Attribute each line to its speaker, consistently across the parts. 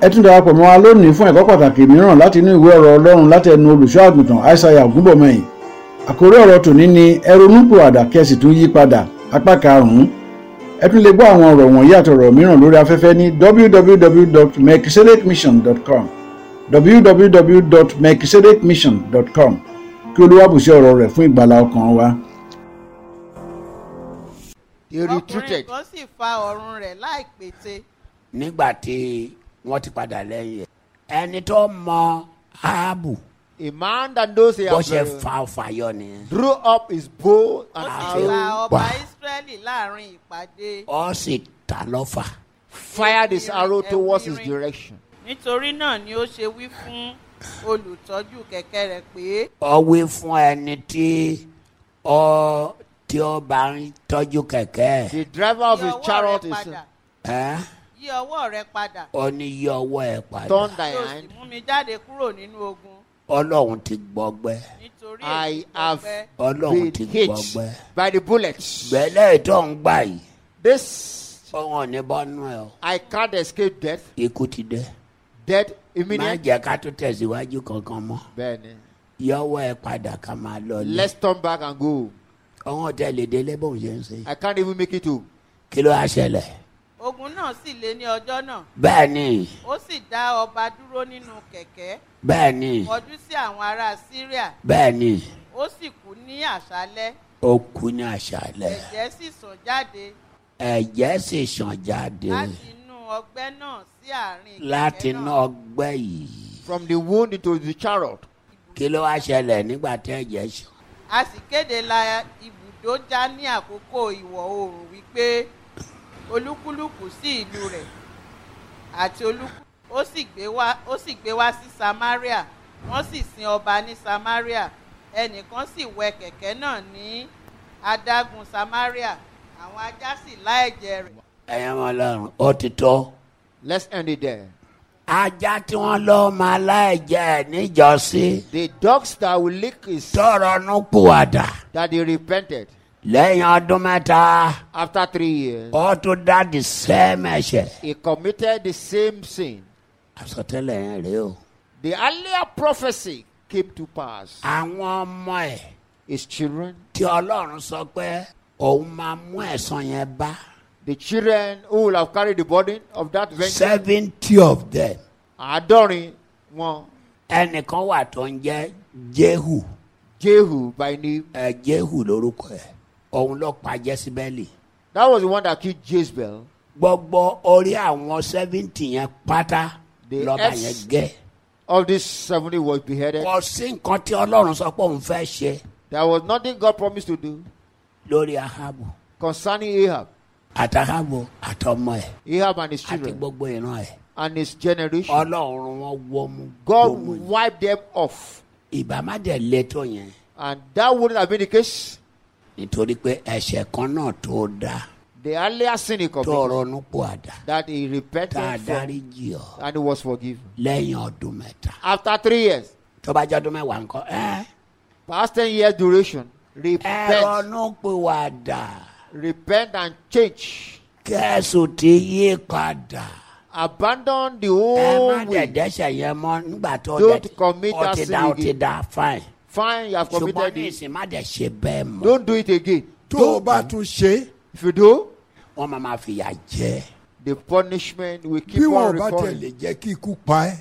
Speaker 1: ẹ tún darapọ̀ mọ́ wa lónìí fún ẹ̀kọ́ pàtàkì mìíràn láti inú ìwé ọ̀rọ̀ ọlọ́run láti ẹnu olùṣọ́ àgùntàn aishaiya ògúnbọ̀mọyìn àkórí ọ̀rọ̀ tòní ni ẹ ronúpìwàdà kẹ́ sì tún yí padà apá karùn-ún ẹ tún lè gbọ́ àwọn ọ̀rọ̀ wọ̀nyí àtọ̀rọ̀ mìíràn lórí afẹ́fẹ́ ní www.mekisedekmission.com www.mekisedekmission.com kí olúwa bùsí ọ̀rọ̀ rẹ̀ fún ìgbàlá ọkàn wa.
Speaker 2: he
Speaker 3: ọkùnrin
Speaker 2: retreated
Speaker 3: kan sì fa ọ̀run rẹ̀ láìpète
Speaker 4: nígbà tí wọ́n ti padà lẹ́yìn ẹ̀ ẹni tó mọ áàbù
Speaker 2: a man that knows he
Speaker 4: bó
Speaker 2: has
Speaker 4: ṣe
Speaker 2: uh,
Speaker 4: fa ọfàyọ nìyẹn
Speaker 2: drew up his bow
Speaker 3: ó
Speaker 2: and
Speaker 3: sì
Speaker 2: arrow,
Speaker 3: pa ọba
Speaker 4: Wà.
Speaker 3: ísírẹ́lì láàrin ìpàdé
Speaker 4: ó sì ta lọ́fà
Speaker 2: fired his arrow
Speaker 3: Every
Speaker 2: towards his
Speaker 3: ring.
Speaker 2: direction.
Speaker 3: nítorí náà ni ó ṣe wí fún olùtọ́jú kẹ̀kẹ́ rẹ̀ pé
Speaker 4: ó wí fún ẹni tí ó tí ó bá ń tọ́jú kẹ̀kẹ́
Speaker 2: The driver of
Speaker 3: yí
Speaker 2: his
Speaker 3: ọwọ́ rẹ
Speaker 2: chariot is
Speaker 3: padà
Speaker 4: ẹ̀
Speaker 3: yí ọwọ́ rẹ padà
Speaker 4: ó ní yí ọwọ́ ẹ̀ padà
Speaker 2: turned thy
Speaker 3: yóò sì
Speaker 2: hand.
Speaker 3: mú mi jáde kúrò nínú ogun
Speaker 4: ọlọ́run ti gbọ́gbẹ́
Speaker 3: nítorí
Speaker 2: I
Speaker 3: èyí kò
Speaker 2: have
Speaker 3: pẹ́
Speaker 4: ọlọ́run
Speaker 2: been
Speaker 4: ti
Speaker 2: hit
Speaker 4: gbọ́gbẹ́
Speaker 2: by the bullets.
Speaker 4: gbẹ́lẹ́ tó ń gbà yìí
Speaker 2: This
Speaker 4: ọ̀hún ní bọ́nú ẹ̀ o
Speaker 2: I can't escape death.
Speaker 4: ikú ti dé
Speaker 2: Death
Speaker 4: má
Speaker 2: imminent.
Speaker 4: jẹ́ ká tún tẹ̀síwájú kankan mọ́
Speaker 2: Bẹ́ẹ̀ni.
Speaker 4: yọwọ́ ẹ̀ padà ká máa lọ lé
Speaker 2: Let's turn back and go.
Speaker 4: ọ̀hún tẹ̀ lè délé bóun ṣe ń ṣe
Speaker 2: I can't even make it home.
Speaker 4: kí ló á ṣẹlẹ̀
Speaker 3: ogun náà sì lé ní ọjọ́ náà
Speaker 4: bẹ́ẹ̀ ni
Speaker 3: ó sì dá ọba dúró nínú kẹ̀kẹ́
Speaker 4: bẹ́ẹ̀ ni
Speaker 3: kọjú sí àwọn ará syria
Speaker 4: bẹ́ẹ̀ ni
Speaker 3: ó sì kú ní àṣálẹ́
Speaker 4: ó kú ní àṣálẹ̀
Speaker 3: ẹ̀jẹ̀ sì sàn jáde
Speaker 4: ẹ̀jẹ̀ sì ṣàn jáde
Speaker 3: láti inú ọgbẹ́ náà sí àárín kẹ̀kẹ́
Speaker 4: láti
Speaker 3: náà.
Speaker 4: ná ọgbẹ́ yìí
Speaker 2: From the wound into the chariot.
Speaker 4: kí ló á ṣẹlẹ̀ nígbà tí ẹ̀jẹ̀ ṣàn
Speaker 3: a sì kéde la ibùdójá ní àkókò ìwọ̀ oòrùn wípé olúkúlùkù sí ìlú rẹ̀ àti olúkúlùkù ó sì gbé wá ó sì gbé wá sí samaria wọ́n sì sin ọba ní samaria ẹnìkan sì wẹ kẹ̀kẹ́ náà ní adágún samaria àwọn ajá sì lá ẹ̀jẹ̀ rẹ̀
Speaker 4: ẹ̀yẹ́ wọn lọ́rùn ó ti tó
Speaker 2: Let's end it there.
Speaker 4: ajá tí wọ́n lọ́ máa láẹ̀jẹ̀ níjọ́sí
Speaker 2: The dogs that will lick is
Speaker 4: tọrọ núpùwàdà
Speaker 2: that they repented
Speaker 4: lẹ́yìn ọdún mẹ́ta
Speaker 2: after three years.
Speaker 4: ó tún dá the same ẹ̀ṣẹ̀
Speaker 2: He committed the same sin.
Speaker 4: àsọtẹ́lẹ̀ yẹn rèé o
Speaker 2: The earlier prophecy came to pass.
Speaker 4: àwọn ọmọ ẹ̀
Speaker 2: His children,
Speaker 4: tí ọlọ́run sọ pé òun máa mú ẹ̀san yẹn bá
Speaker 2: the children who will have carried the burden of that venture,
Speaker 4: seventy of them
Speaker 2: are adoring one
Speaker 4: ẹnìkan wà tó ń jẹ́ jehu
Speaker 2: Jehu by name.
Speaker 4: ẹ jehu lórúkọ ẹ̀ òun ló pa jésíbẹ́lì
Speaker 2: That was the one that killed Jezebel.
Speaker 4: gbogbo orí àwọn seventy yẹn pátá
Speaker 2: The
Speaker 4: lọ́ba
Speaker 2: S-
Speaker 4: yẹn gẹ́
Speaker 2: All these 70 was beheaded.
Speaker 4: kò sí nǹkan tí ọlọ́run sọ pé òun fẹ́ ṣe
Speaker 2: There was nothing God promised to do
Speaker 4: lórí ahabu
Speaker 2: concerning Ahab,
Speaker 4: àtàhabu àtọmọ ẹ̀
Speaker 2: Ahab and his
Speaker 4: àti
Speaker 2: children,
Speaker 4: gbogbo ìran ẹ̀
Speaker 2: and his generation.
Speaker 4: ọlọ́run wọn wọmú
Speaker 2: God
Speaker 4: gbogbo yìí.
Speaker 2: wiped them off.
Speaker 4: ìbámadẹ̀ lẹ́tọ̀ yẹn
Speaker 2: And that wouldn't have been the case.
Speaker 4: nítorí pé ẹ̀ṣẹ̀ kan náà tó dáa
Speaker 2: The earlier sin he
Speaker 4: tó
Speaker 2: committed,
Speaker 4: ronú pò àdá
Speaker 2: that he
Speaker 4: tá a
Speaker 2: repented from,
Speaker 4: dárí jì ọ́
Speaker 2: and he was forgiven.
Speaker 4: lẹ́yìn ọdún mẹ́ta
Speaker 2: After three years,
Speaker 4: tó bá jẹ́ ọdún mẹ́wàá nǹkan ẹ́
Speaker 2: past 10 years duration,
Speaker 4: ẹ
Speaker 2: repent,
Speaker 4: ronú pò àdá
Speaker 2: repent and change.
Speaker 4: kẹ́sùn ti yí padà
Speaker 2: Abandon the
Speaker 4: ẹ má
Speaker 2: old way.
Speaker 4: dẹ̀dẹ́sẹ̀ yẹn mọ́ nígbà tó
Speaker 2: Oh Don't
Speaker 4: dẹ̀-
Speaker 2: commit
Speaker 4: ó ti
Speaker 2: that
Speaker 4: dá
Speaker 2: sin
Speaker 4: ó ti
Speaker 2: again.
Speaker 4: dá fine
Speaker 2: Fine, you have
Speaker 4: ṣùgbọ́n
Speaker 2: committed
Speaker 4: ní
Speaker 2: it.
Speaker 4: ìsìn má dẹ̀ ṣe bẹ́ẹ̀ mọ́
Speaker 2: Don't do it again.
Speaker 4: tó o bá tún ṣe
Speaker 2: If you do,
Speaker 4: wọ́n máa ma fìyà jẹ ẹ́.
Speaker 2: the punishment will
Speaker 5: bí
Speaker 2: keep
Speaker 5: wọn ò
Speaker 2: on
Speaker 5: bá tiẹ̀
Speaker 2: recurring.
Speaker 5: lè jẹ́ kí ikú pa ẹ́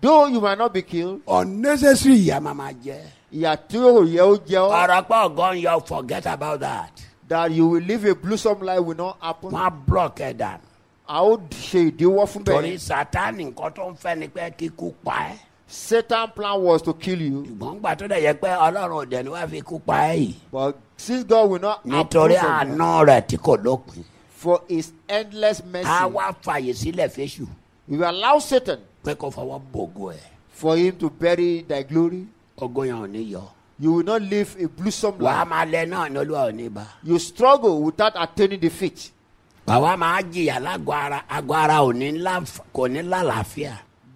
Speaker 2: Though you might not be killed,
Speaker 5: unnecessary
Speaker 4: ìyá máa ma jẹ ẹ́.
Speaker 2: Yatio Yeojeo,
Speaker 4: ọ̀rọ̀ pé ọ̀gọ́n yọ forget about that
Speaker 2: that you will live a blossom life will not happen.
Speaker 4: wọ́n á block ẹ̀ dànù.
Speaker 2: How she deal from
Speaker 4: torí
Speaker 2: there?
Speaker 4: sátánì nǹkan tó ń fẹ́ ni pé kíkú pa ẹ́
Speaker 2: Satan plan was to kill you,
Speaker 4: ṣùgbọ́n gbà tó dẹ̀ yẹ pé ọlọ́run ò dẹ̀ ni wá fi kú pa ẹ́ yìí
Speaker 2: but since God will not
Speaker 4: nítorí
Speaker 2: approve of you,
Speaker 4: àánú rẹ̀ tí kò lópin
Speaker 2: for His endless
Speaker 4: á
Speaker 2: mercy,
Speaker 4: wá fàyè sílẹ̀ fésù
Speaker 2: you allow Satan
Speaker 4: pé kó fọwọ́ bògo ẹ̀
Speaker 2: for him to bury thy glory.
Speaker 4: ògo yẹn ò ní yọ
Speaker 2: You will not live a blossom
Speaker 4: wàá
Speaker 2: life.
Speaker 4: máa lẹ náà ní olúwa ò ní bá
Speaker 2: You struggle without attaining defeat.
Speaker 4: wàá máa jìyà lágọ̀ ara àgọ́ ara ò ní láǹf- kò ní lálàáfíà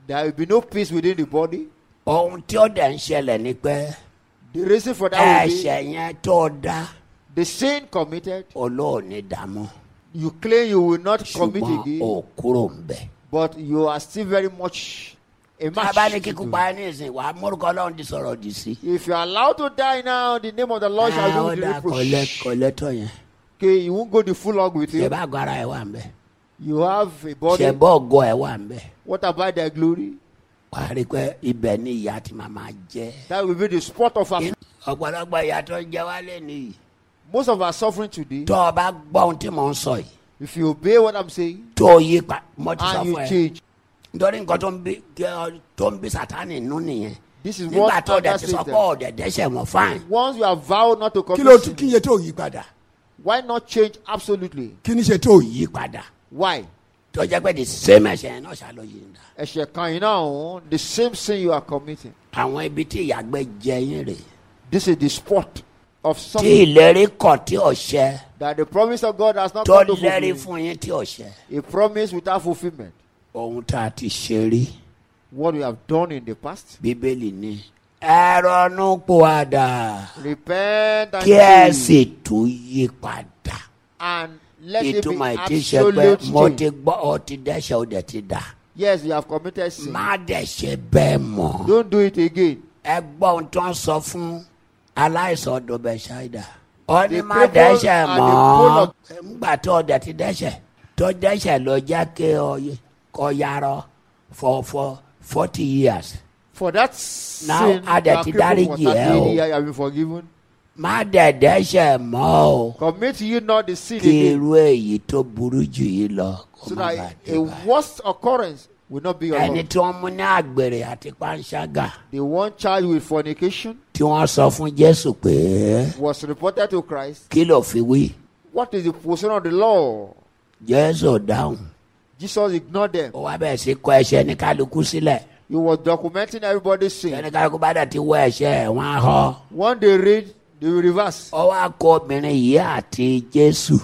Speaker 2: There will be no peace within the body.
Speaker 4: ohun tí ó dẹ̀ ń ṣẹlẹ̀ ni pé
Speaker 2: The reason for that will be
Speaker 4: ẹ̀ṣẹ̀ yẹn tó dá
Speaker 2: the sin committed.
Speaker 4: olóòní dààmú
Speaker 2: You claim you will not commit
Speaker 4: ṣùgbọ́n
Speaker 2: again,
Speaker 4: ò kúrò ń bẹ̀.
Speaker 2: but you are still very much a match
Speaker 4: tábà ní
Speaker 2: to
Speaker 4: kíkú
Speaker 2: do.
Speaker 4: pa ní ìsìn wàá mórúkọ ọlọ́run ti sọ̀rọ̀ dì sí.
Speaker 2: If you are allowed to die now, the name of the Lord
Speaker 4: Ah,
Speaker 2: shall
Speaker 4: ó
Speaker 2: be
Speaker 4: dáa, kò lẹ-
Speaker 2: reproach.
Speaker 4: kò lẹ́tọ̀ yẹn
Speaker 2: Okay, you won't go the full hog with
Speaker 4: ṣe
Speaker 2: it.
Speaker 4: bá àgọ́ ara ẹ̀ wà ń bẹ̀
Speaker 2: You have a
Speaker 4: ṣe
Speaker 2: body.
Speaker 4: bọ́ ọgọ́ ẹ̀ wà ń bẹ̀
Speaker 2: What about their glory?
Speaker 4: wà á rí i pé ibẹ̀ ni ìyá ti máa máa jẹ́
Speaker 2: That will be the spot of our
Speaker 4: ọ̀pọ̀lọpọ̀ ìyá tó ń jẹ wá lẹ́nìí
Speaker 2: most of our suffering today.
Speaker 4: tó o bá gbọ́ ohun tí mò ń sọ yìí
Speaker 2: If you obey what I'm saying
Speaker 4: tó o yí pa mo ti sọ
Speaker 2: and
Speaker 4: fún
Speaker 2: you
Speaker 4: ẹ
Speaker 2: change,
Speaker 4: nítorí nǹkan tó ń bí kẹ- tó ń bí sátánì nú nìyẹn
Speaker 2: This is
Speaker 4: nígbà
Speaker 2: what
Speaker 4: tó o dẹ̀ ti
Speaker 2: Satan
Speaker 4: sọ
Speaker 2: said
Speaker 4: pé o dẹ̀ dẹ́sẹ̀ wọn fáìn
Speaker 2: once you have vowed not to
Speaker 5: kí ló
Speaker 2: commit
Speaker 5: tún
Speaker 2: sin,
Speaker 5: kí iye tó yí padà
Speaker 2: why not change absolutely?
Speaker 5: kí ni ṣe tó yí.
Speaker 4: yí padà
Speaker 2: Why?
Speaker 4: tó jẹ́ pé the same ẹ̀ṣẹ̀ yẹn náà ṣàlọ́ yìí nà
Speaker 2: Ẹ̀ṣẹ̀ kan yìí náà òun, The same sin you are committing.
Speaker 4: àwọn ibi tí ìyàgbẹ́ jẹ yín rè
Speaker 2: This is the spot of
Speaker 4: tí
Speaker 2: something
Speaker 4: ìlérí kọ̀ tí ọ̀ṣẹ́
Speaker 2: that the promise of God has not
Speaker 4: tó
Speaker 2: come to
Speaker 4: lérí
Speaker 2: fulfill.
Speaker 4: fún yín tí ọ̀ṣẹ́
Speaker 2: A promise without fulfillment.
Speaker 4: ohun tá a ti ṣe rí
Speaker 2: What you have done in the past.
Speaker 4: bíbélì ni ẹ ronú pòwàdà
Speaker 2: Repent and
Speaker 4: kí ẹ
Speaker 2: change.
Speaker 4: sì tún yí padà
Speaker 2: and let it be
Speaker 4: ìtumọ̀ ìtí ṣe pé
Speaker 2: absolute
Speaker 4: mo ti
Speaker 2: change.
Speaker 4: gbọ́ ọ ti dẹ́ṣẹ̀ ó dẹ̀ ti dà
Speaker 2: Yes, you have committed sin.
Speaker 4: má dẹ̀ ṣe bẹ́ẹ̀ mọ́
Speaker 2: Don't do it again.
Speaker 4: ẹ gbọ́ ohun tó ń sọ fún aláìsàn ọdọọbẹ ṣáìdà ó ní
Speaker 2: The
Speaker 4: má
Speaker 2: people
Speaker 4: dẹ́ṣẹ̀
Speaker 2: are the pull
Speaker 4: mọ́
Speaker 2: of-
Speaker 4: ńgbà tó o dẹ̀ ti dẹ́ṣẹ̀ tó dẹ́ṣẹ̀ ló jẹ́ kí ọ yẹ- kọ yarọ for for forty years
Speaker 2: For that
Speaker 4: Now,
Speaker 2: sin,
Speaker 4: add
Speaker 2: you are
Speaker 4: it to
Speaker 2: crippled
Speaker 4: that
Speaker 2: for
Speaker 4: year,
Speaker 2: 38
Speaker 4: oh.
Speaker 2: years, you have been forgiven.
Speaker 4: má dẹ̀ dẹ́ṣẹ̀ mọ́ o
Speaker 2: Commit ye not the sin
Speaker 4: kí
Speaker 2: again,
Speaker 4: irú èyí tó burú jù yìí lọ kó
Speaker 2: so
Speaker 4: má bàa
Speaker 2: that
Speaker 4: dé
Speaker 2: a
Speaker 4: bá
Speaker 2: worst occurrence will not be your
Speaker 4: ẹni
Speaker 2: lot.
Speaker 4: tí wọ́n mú ní àgbèrè àti panṣágà
Speaker 2: The one child with fornication
Speaker 4: tí wọ́n sọ fún jésù pé
Speaker 2: was reported to Christ.
Speaker 4: kí ló fi wí
Speaker 2: What is the position of the law?
Speaker 4: jésù ò dáhùn
Speaker 2: Jesus ignored them.
Speaker 4: ó wá bẹ̀rẹ̀ sí kọ ẹ̀ṣẹ̀ ní kálukú sílẹ̀.
Speaker 2: He was documenting everybody's sin.
Speaker 4: ẹni kálukú bá dẹ̀ ti wọ ẹ̀ṣẹ̀ ẹ̀ wọ́n á họ.
Speaker 2: One day read, they will reverse.
Speaker 4: ó wá kọ obìnrin yìí àti jésù.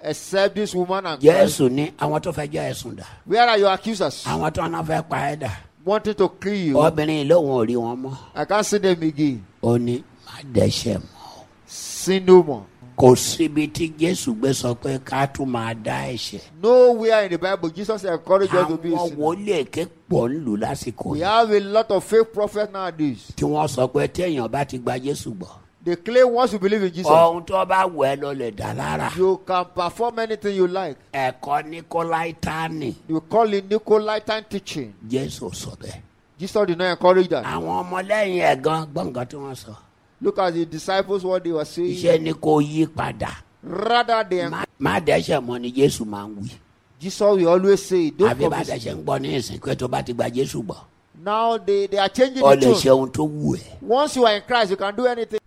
Speaker 2: Except this woman and Christ.
Speaker 4: jésù ní àwọn tó fẹ́ jọ ẹ̀sùn dà.
Speaker 2: Where are your accusers?
Speaker 4: àwọn tó náà fẹ́ pa ẹ̀ dà.
Speaker 2: Wanting to kill you.
Speaker 4: obìnrin yìí lóun ò rí wọn mọ́.
Speaker 2: I can't see them again.
Speaker 4: ó ní má dẹ́ṣẹ̀ mọ́.
Speaker 2: Sin no more.
Speaker 4: kò síbi tí jésù gbé sọ pé ká tún máa dá ẹ̀ṣẹ̀.
Speaker 2: Nowhere in the Bible Jesus encouraged us to be a
Speaker 4: àwọn
Speaker 2: sinner.
Speaker 4: wòlíì èké pọ̀ ń lù lásìkò
Speaker 2: We
Speaker 4: yìí.
Speaker 2: have a lot of fake prophets nowadays.
Speaker 4: tí wọ́n sọ pé téèyàn bá ti gba jésù gbọ́.
Speaker 2: They claim once you believe in Jesus,
Speaker 4: ohun tó bá wẹ̀ ẹ́ lọ lè dá lára.
Speaker 2: you can perform anything you like.
Speaker 4: ẹ̀kọ́ nikolaitani
Speaker 2: You call it Nicolaitan teaching.
Speaker 4: jésù sọ bẹ́ẹ̀.
Speaker 2: Jesus did not encourage that.
Speaker 4: àwọn ọmọlẹ́yìn ẹ̀ gan gbọ̀ngàn tí wọ́n sọ.
Speaker 2: Look at the disciples, what they were saying.
Speaker 4: iṣẹ́ ni kò yí padà.
Speaker 2: Rather than
Speaker 4: Má- má dẹ́sẹ̀ mọ́ ni jésù máa ń wí.
Speaker 2: Jesus, we always say, don't
Speaker 4: àbí bá
Speaker 2: commit
Speaker 4: dẹ́sẹ̀
Speaker 2: sin.
Speaker 4: ń gbọ́ ní ìsìn pé tó bá ti gba jésù gbọ́.
Speaker 2: Now they, they are changing
Speaker 4: o lè
Speaker 2: the
Speaker 4: ṣe
Speaker 2: tune.
Speaker 4: ohun tó wù ẹ́.
Speaker 2: Once you are in Christ, you can do anything.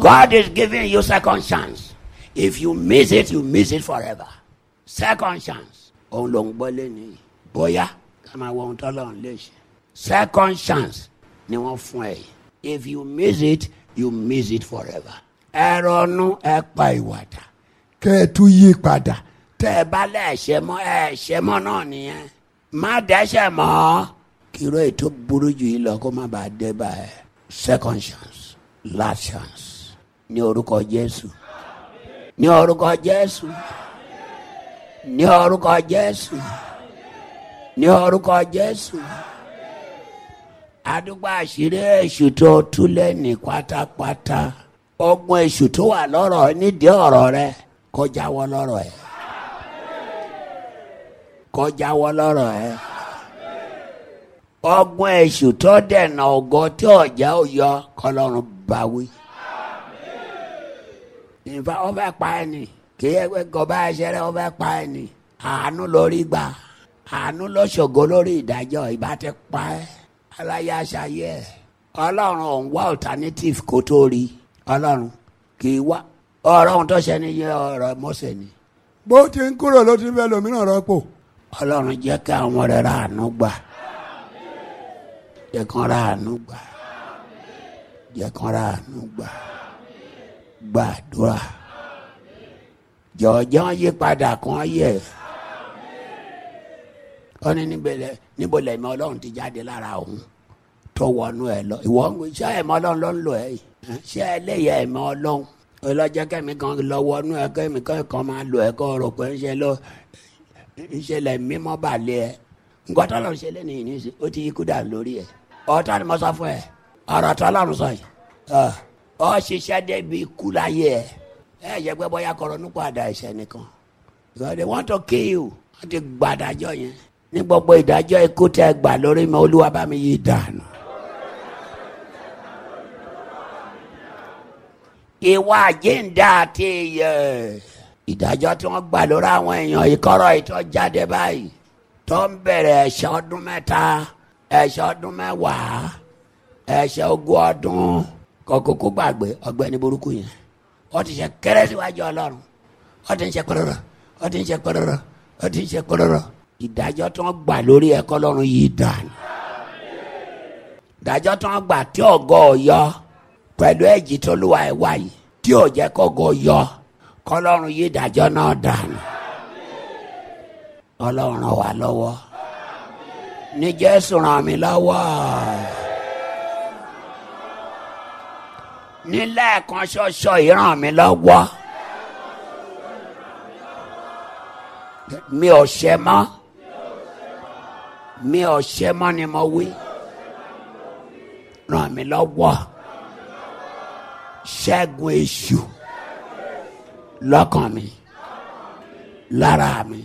Speaker 4: God is giving you second chance. If you miss it, you miss it forever. Second chance. Òun ló ń gbọ́ lẹ́nu yìí. Bóyá ká máa wọ ohun tó lọ́run lè ṣe. Second chance ni wọ́n fún ẹ yìí. If you miss it, you miss it forever. Ẹ ronú ẹ pa ìwàdà.
Speaker 5: kẹ́ ẹ tún yí padà.
Speaker 4: tẹ ẹ bá lẹ́ẹ̀ṣẹ̀ mọ́ ẹ̀ṣẹ̀ mọ́ náà nìyẹn má dẹ́ṣẹ̀ mọ́. kíró ètò burú jù yìí lọ kó má bàa dé bá ẹ second chance last chance ní orúkọ jésù ní orúkọ jésù ní orúkọ jésù ní orúkọ jésù àdúgbò àṣírí èṣù tó túlẹ̀ ní pátápátá ọgbọ́n èṣù tó wà lọ́rọ̀ nídìí ọ̀rọ̀ rẹ kó jáwọ́ lọ́rọ̀ ẹ̀ kọjá wọ lọ́rọ̀ ẹ. ọgbọ́n èṣù tó dẹ̀nà ògo tí ọ̀já ò yọ kọlọ́run bá wí. ìfà ó fẹ́ pa ẹ nì kí ẹgbẹ́ gọba ẹsẹ̀ rẹ ó fẹ́ pa ẹ nì àánú lórí gbà àánú lọ́ṣọ̀gọ́ lórí ìdájọ́ ìbá ti pa ẹ aláya ṣayé ẹ. ọlọ́run ò ń wá alternative kó tó rí ọlọ́run kì í wá ọ̀rọ̀ ohun tó ṣe ni yẹ ọ̀rọ̀ mọ́sẹ̀ ni
Speaker 5: bó ti ń kúrò ló ti ń fẹ́ lòmíràn rọ́pò.
Speaker 4: ọlọ́run jẹ́ kí àwọn rẹ̀ ra àánú gbà jẹ́ kán ra àánú gbà jẹ́ kán ra àánú gbà gbàdúrà jọ̀ọ́jọ́ yí padà kán yẹ̀ ó ní níbẹ̀lẹ̀ níbọ̀lẹ̀ mi ọlọ́run ti jáde lára òun tó wọnú ẹ lọ ìwọ ń ṣe ẹ̀mí ọlọ́run ló ń lò ẹ́ yìí ẹ̀, ṣé ẹlẹ́yà ẹ̀mí ọlọ́run ọlọ́jọ́ kẹ́mi kan lọ wọnú ẹ kẹ́mi kan kan máa lò ẹ́ kọ́ ọ̀rọ̀ pé ń ṣe lọ ìṣẹ̀lẹ̀ mímọ́ balẹ̀ ẹ nǹkan tọ́lọ̀ ń ṣe lẹ́nu yìí ní í ṣe ó ti ikú dà lórí ẹ̀ ọ̀tá ni mo sọ fún ẹ ọ̀rọ̀ tọ́lọ̀ ń sọ yìí Ah, ọ ṣiṣẹ́ débi ikú láyé ẹ ẹ yẹ pé bóyá kọ̀rọ̀ nípa àdá ẹ̀ṣẹ̀ nìkan Because they want to kill you wọ́n ti gbàdájọ́ yẹn ní gbogbo ìdájọ́ ikú tẹ́ gbà lórí mi olúwa bá mi yí dànù. ìwà àjíǹde àti iyè ìdájọ́ tí wọ́n gbà lórí àwọn èèyàn ìkọ́rọ̀ ìtọ́ jáde báyìí tó ń bẹ̀rẹ̀ ẹ̀ṣẹ̀ ọdún mẹ́ta ẹ̀ṣẹ̀ ọdún mẹ́wàá ẹ̀ṣẹ̀ ogún ọdún kọ̀kọ́kọ́ gbàgbé ọgbẹ́ni burúkú yẹn wọ́n ti ṣe kéré síwájú ọlọ́run wọ́n ti ń ṣe pẹ́rẹ́rọ́ wọ́n ti ń ṣe pẹ́rẹ́rọ́ wọ́n ti ń ṣe pẹ́rẹ́rọ́ ìdájọ́ tí wọ́n gbà lórí ẹ̀kọ́ ọlọ́run yìí dànù ìdájọ́ tí wọ́n gbà tí ọ̀gọ́ ọ̀yọ́ pẹ̀lú ẹ̀jì tó lùwà ẹ̀ wáyé tí ò jẹ́ kọ́gọ́ yọ kọ́lọ́run yí ìdájọ́ náà dànù ọlọ́run ràn wá lọ́wọ́ ní jésù ràn mí lọ́wọ́ ní lẹ́ẹ̀kan ṣoṣo yìí ràn mí lọ́wọ́ mi ò ṣe mọ́ mi ò ṣe mọ́ ni mo wí ràn mí lọ́wọ́ ṣẹ́gun èṣù lọ́kàn mi lára mi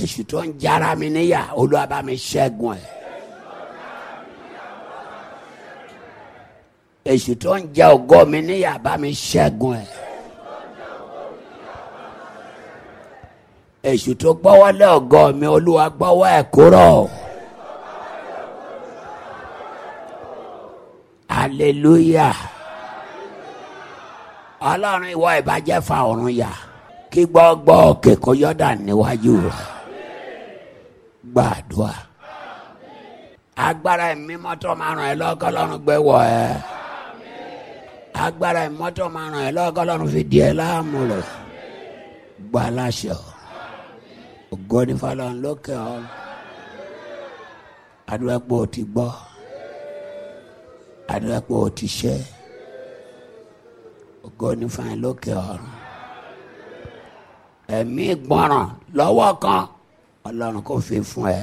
Speaker 4: èṣù tó ń jára mi níyà olúwa bá mi ṣẹ́gun ẹ̀ èṣù tó ń jẹ ògo mi níyà bá mi ṣẹ́gun ẹ̀ èṣù tó gbọ́wọ́ lé ògo mi olúwa gbọ́wọ́ ẹ̀ kúrò. aleluya ọlọ́run ìwọ ìbàjẹ́ fa ọ̀run yà kí gbọ́gbọ́ òkè kó yọ̀dà níwájú rẹ̀ gbàdúrà agbára ìmímọ́ tó máa ràn ẹ́ lọ́kọ́ lọ́run gbé wọ̀ ẹ́ agbára ìmímọ́ tó máa ràn ẹ́ lọ́kọ́ lọ́run fi di ẹ́ láàmú rẹ̀ gbà láṣẹ ọ́. ògo ni fọlọ́run lókè ọ́ adúlá pé o ti gbọ́ àdúrà pé o ti ṣe ògo ní fain lókè ọ̀run ẹ̀mí ìgbọràn lọ́wọ́ kan ọlọ́run kò fi fún ẹ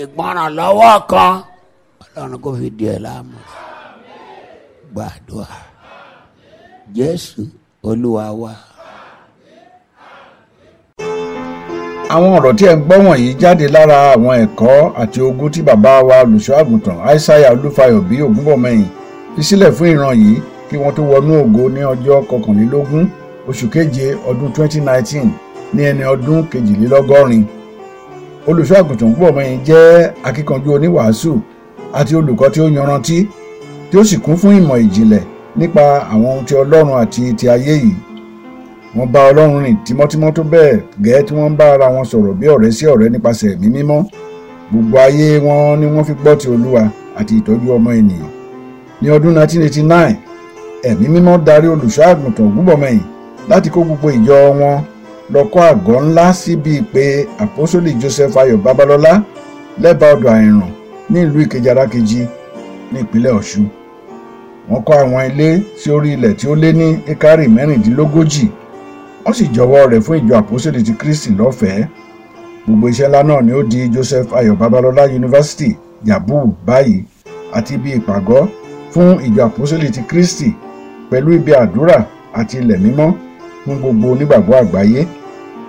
Speaker 4: ìgbọràn lọ́wọ́ kan ọlọ́run kò fi di ẹ láàmú gbàdúrà jésù olúwa wa.
Speaker 1: àwọn ọ̀rọ̀ tí ẹ̀ ń gbọ́ wọ̀nyí jáde lára àwọn ẹ̀kọ́ àti ogun tí bàbá wa olùṣọ́àgùntàn aishaiya olúfayọ bí ògúnbọ̀mọyìn fi sílẹ̀ fún ìran yìí kí wọ́n tó wọnú ògo ní ọjọ́ kọkànlélógún oṣù keje ọdún 2019 ní ẹni ọdún kejìlélọ́gọ́rin olùṣọ́àgùntàn ògúnbọ̀mọyìn jẹ́ akíkanjú oníwàásù àti olùkọ́ tí ó yanrantí tí ó sì kún fún ìmọ̀ ìjìnlẹ̀ nípa àwọn ohun ti ọlọ́run àti ti ayé yìí wọ́n bá ọlọ́run rìn tímọ́tímọ́ tó bẹ́ẹ̀ gẹ́ẹ́ tí wọ́n ń bá ara wọn sọ̀rọ̀ bí ọ̀rẹ́ sí ọ̀rẹ́ nípasẹ̀ ẹ̀mí mímọ́ gbogbo ayé wọn ni wọ́n fi gbọ́ ti olúwa àti ìtọ́jú ọmọ ènìyàn ní ọdún 1989 ẹ̀mí mímọ́ darí olùṣọ́ àgùntàn gbúbọ̀mọyìn láti kó gbogbo ìjọ wọn lọ kọ́ àgọ́ ńlá síbi pé àpọ́sólì joseph ayọ̀ babalọ́lá lẹ́bàá ọdọ̀ àìràn ní ìlú ìkejì arákejì ní ìpínlẹ̀ ọ̀ṣun wọ́n kọ́ àwọn ilé sí orí ilẹ̀ tí ó lé ní ekari mẹ́rìndínlógójì wọ́n sì jọ̀wọ́ rẹ̀ fún ìjọ àpòsílẹ̀ ti kristi lọ́fẹ̀ẹ́ gbogbo iṣẹ́ ńlá náà ni ó di joseph ayọ̀ babalọ́lá yunifásitì yabu báyìí àti ibi ìpàgọ́ fún ìjọ àpòsílẹ̀ ti kristi pẹ̀lú ibi àdúrà àti ilẹ̀ mímọ́ fún gbogbo onígbàgbọ́ àgbáyé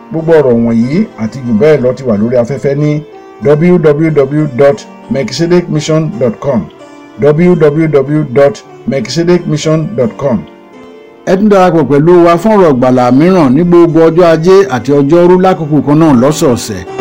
Speaker 1: gbogbo ọ̀rọ̀ wọ̀nyí àti jù bẹ́ẹ̀ lọ ti wà lórí afẹ́fẹ́ ní www.mekisedekmission.com www.mekisedekmission.com
Speaker 6: ẹ tún darapọ̀ pẹ̀lú wa fún ọ̀rọ̀ ìgbàlà mìíràn ní gbogbo ọjọ́ ajé àti ọjọ́rú lákòókò kan náà lọ́sọ̀ọ̀sẹ̀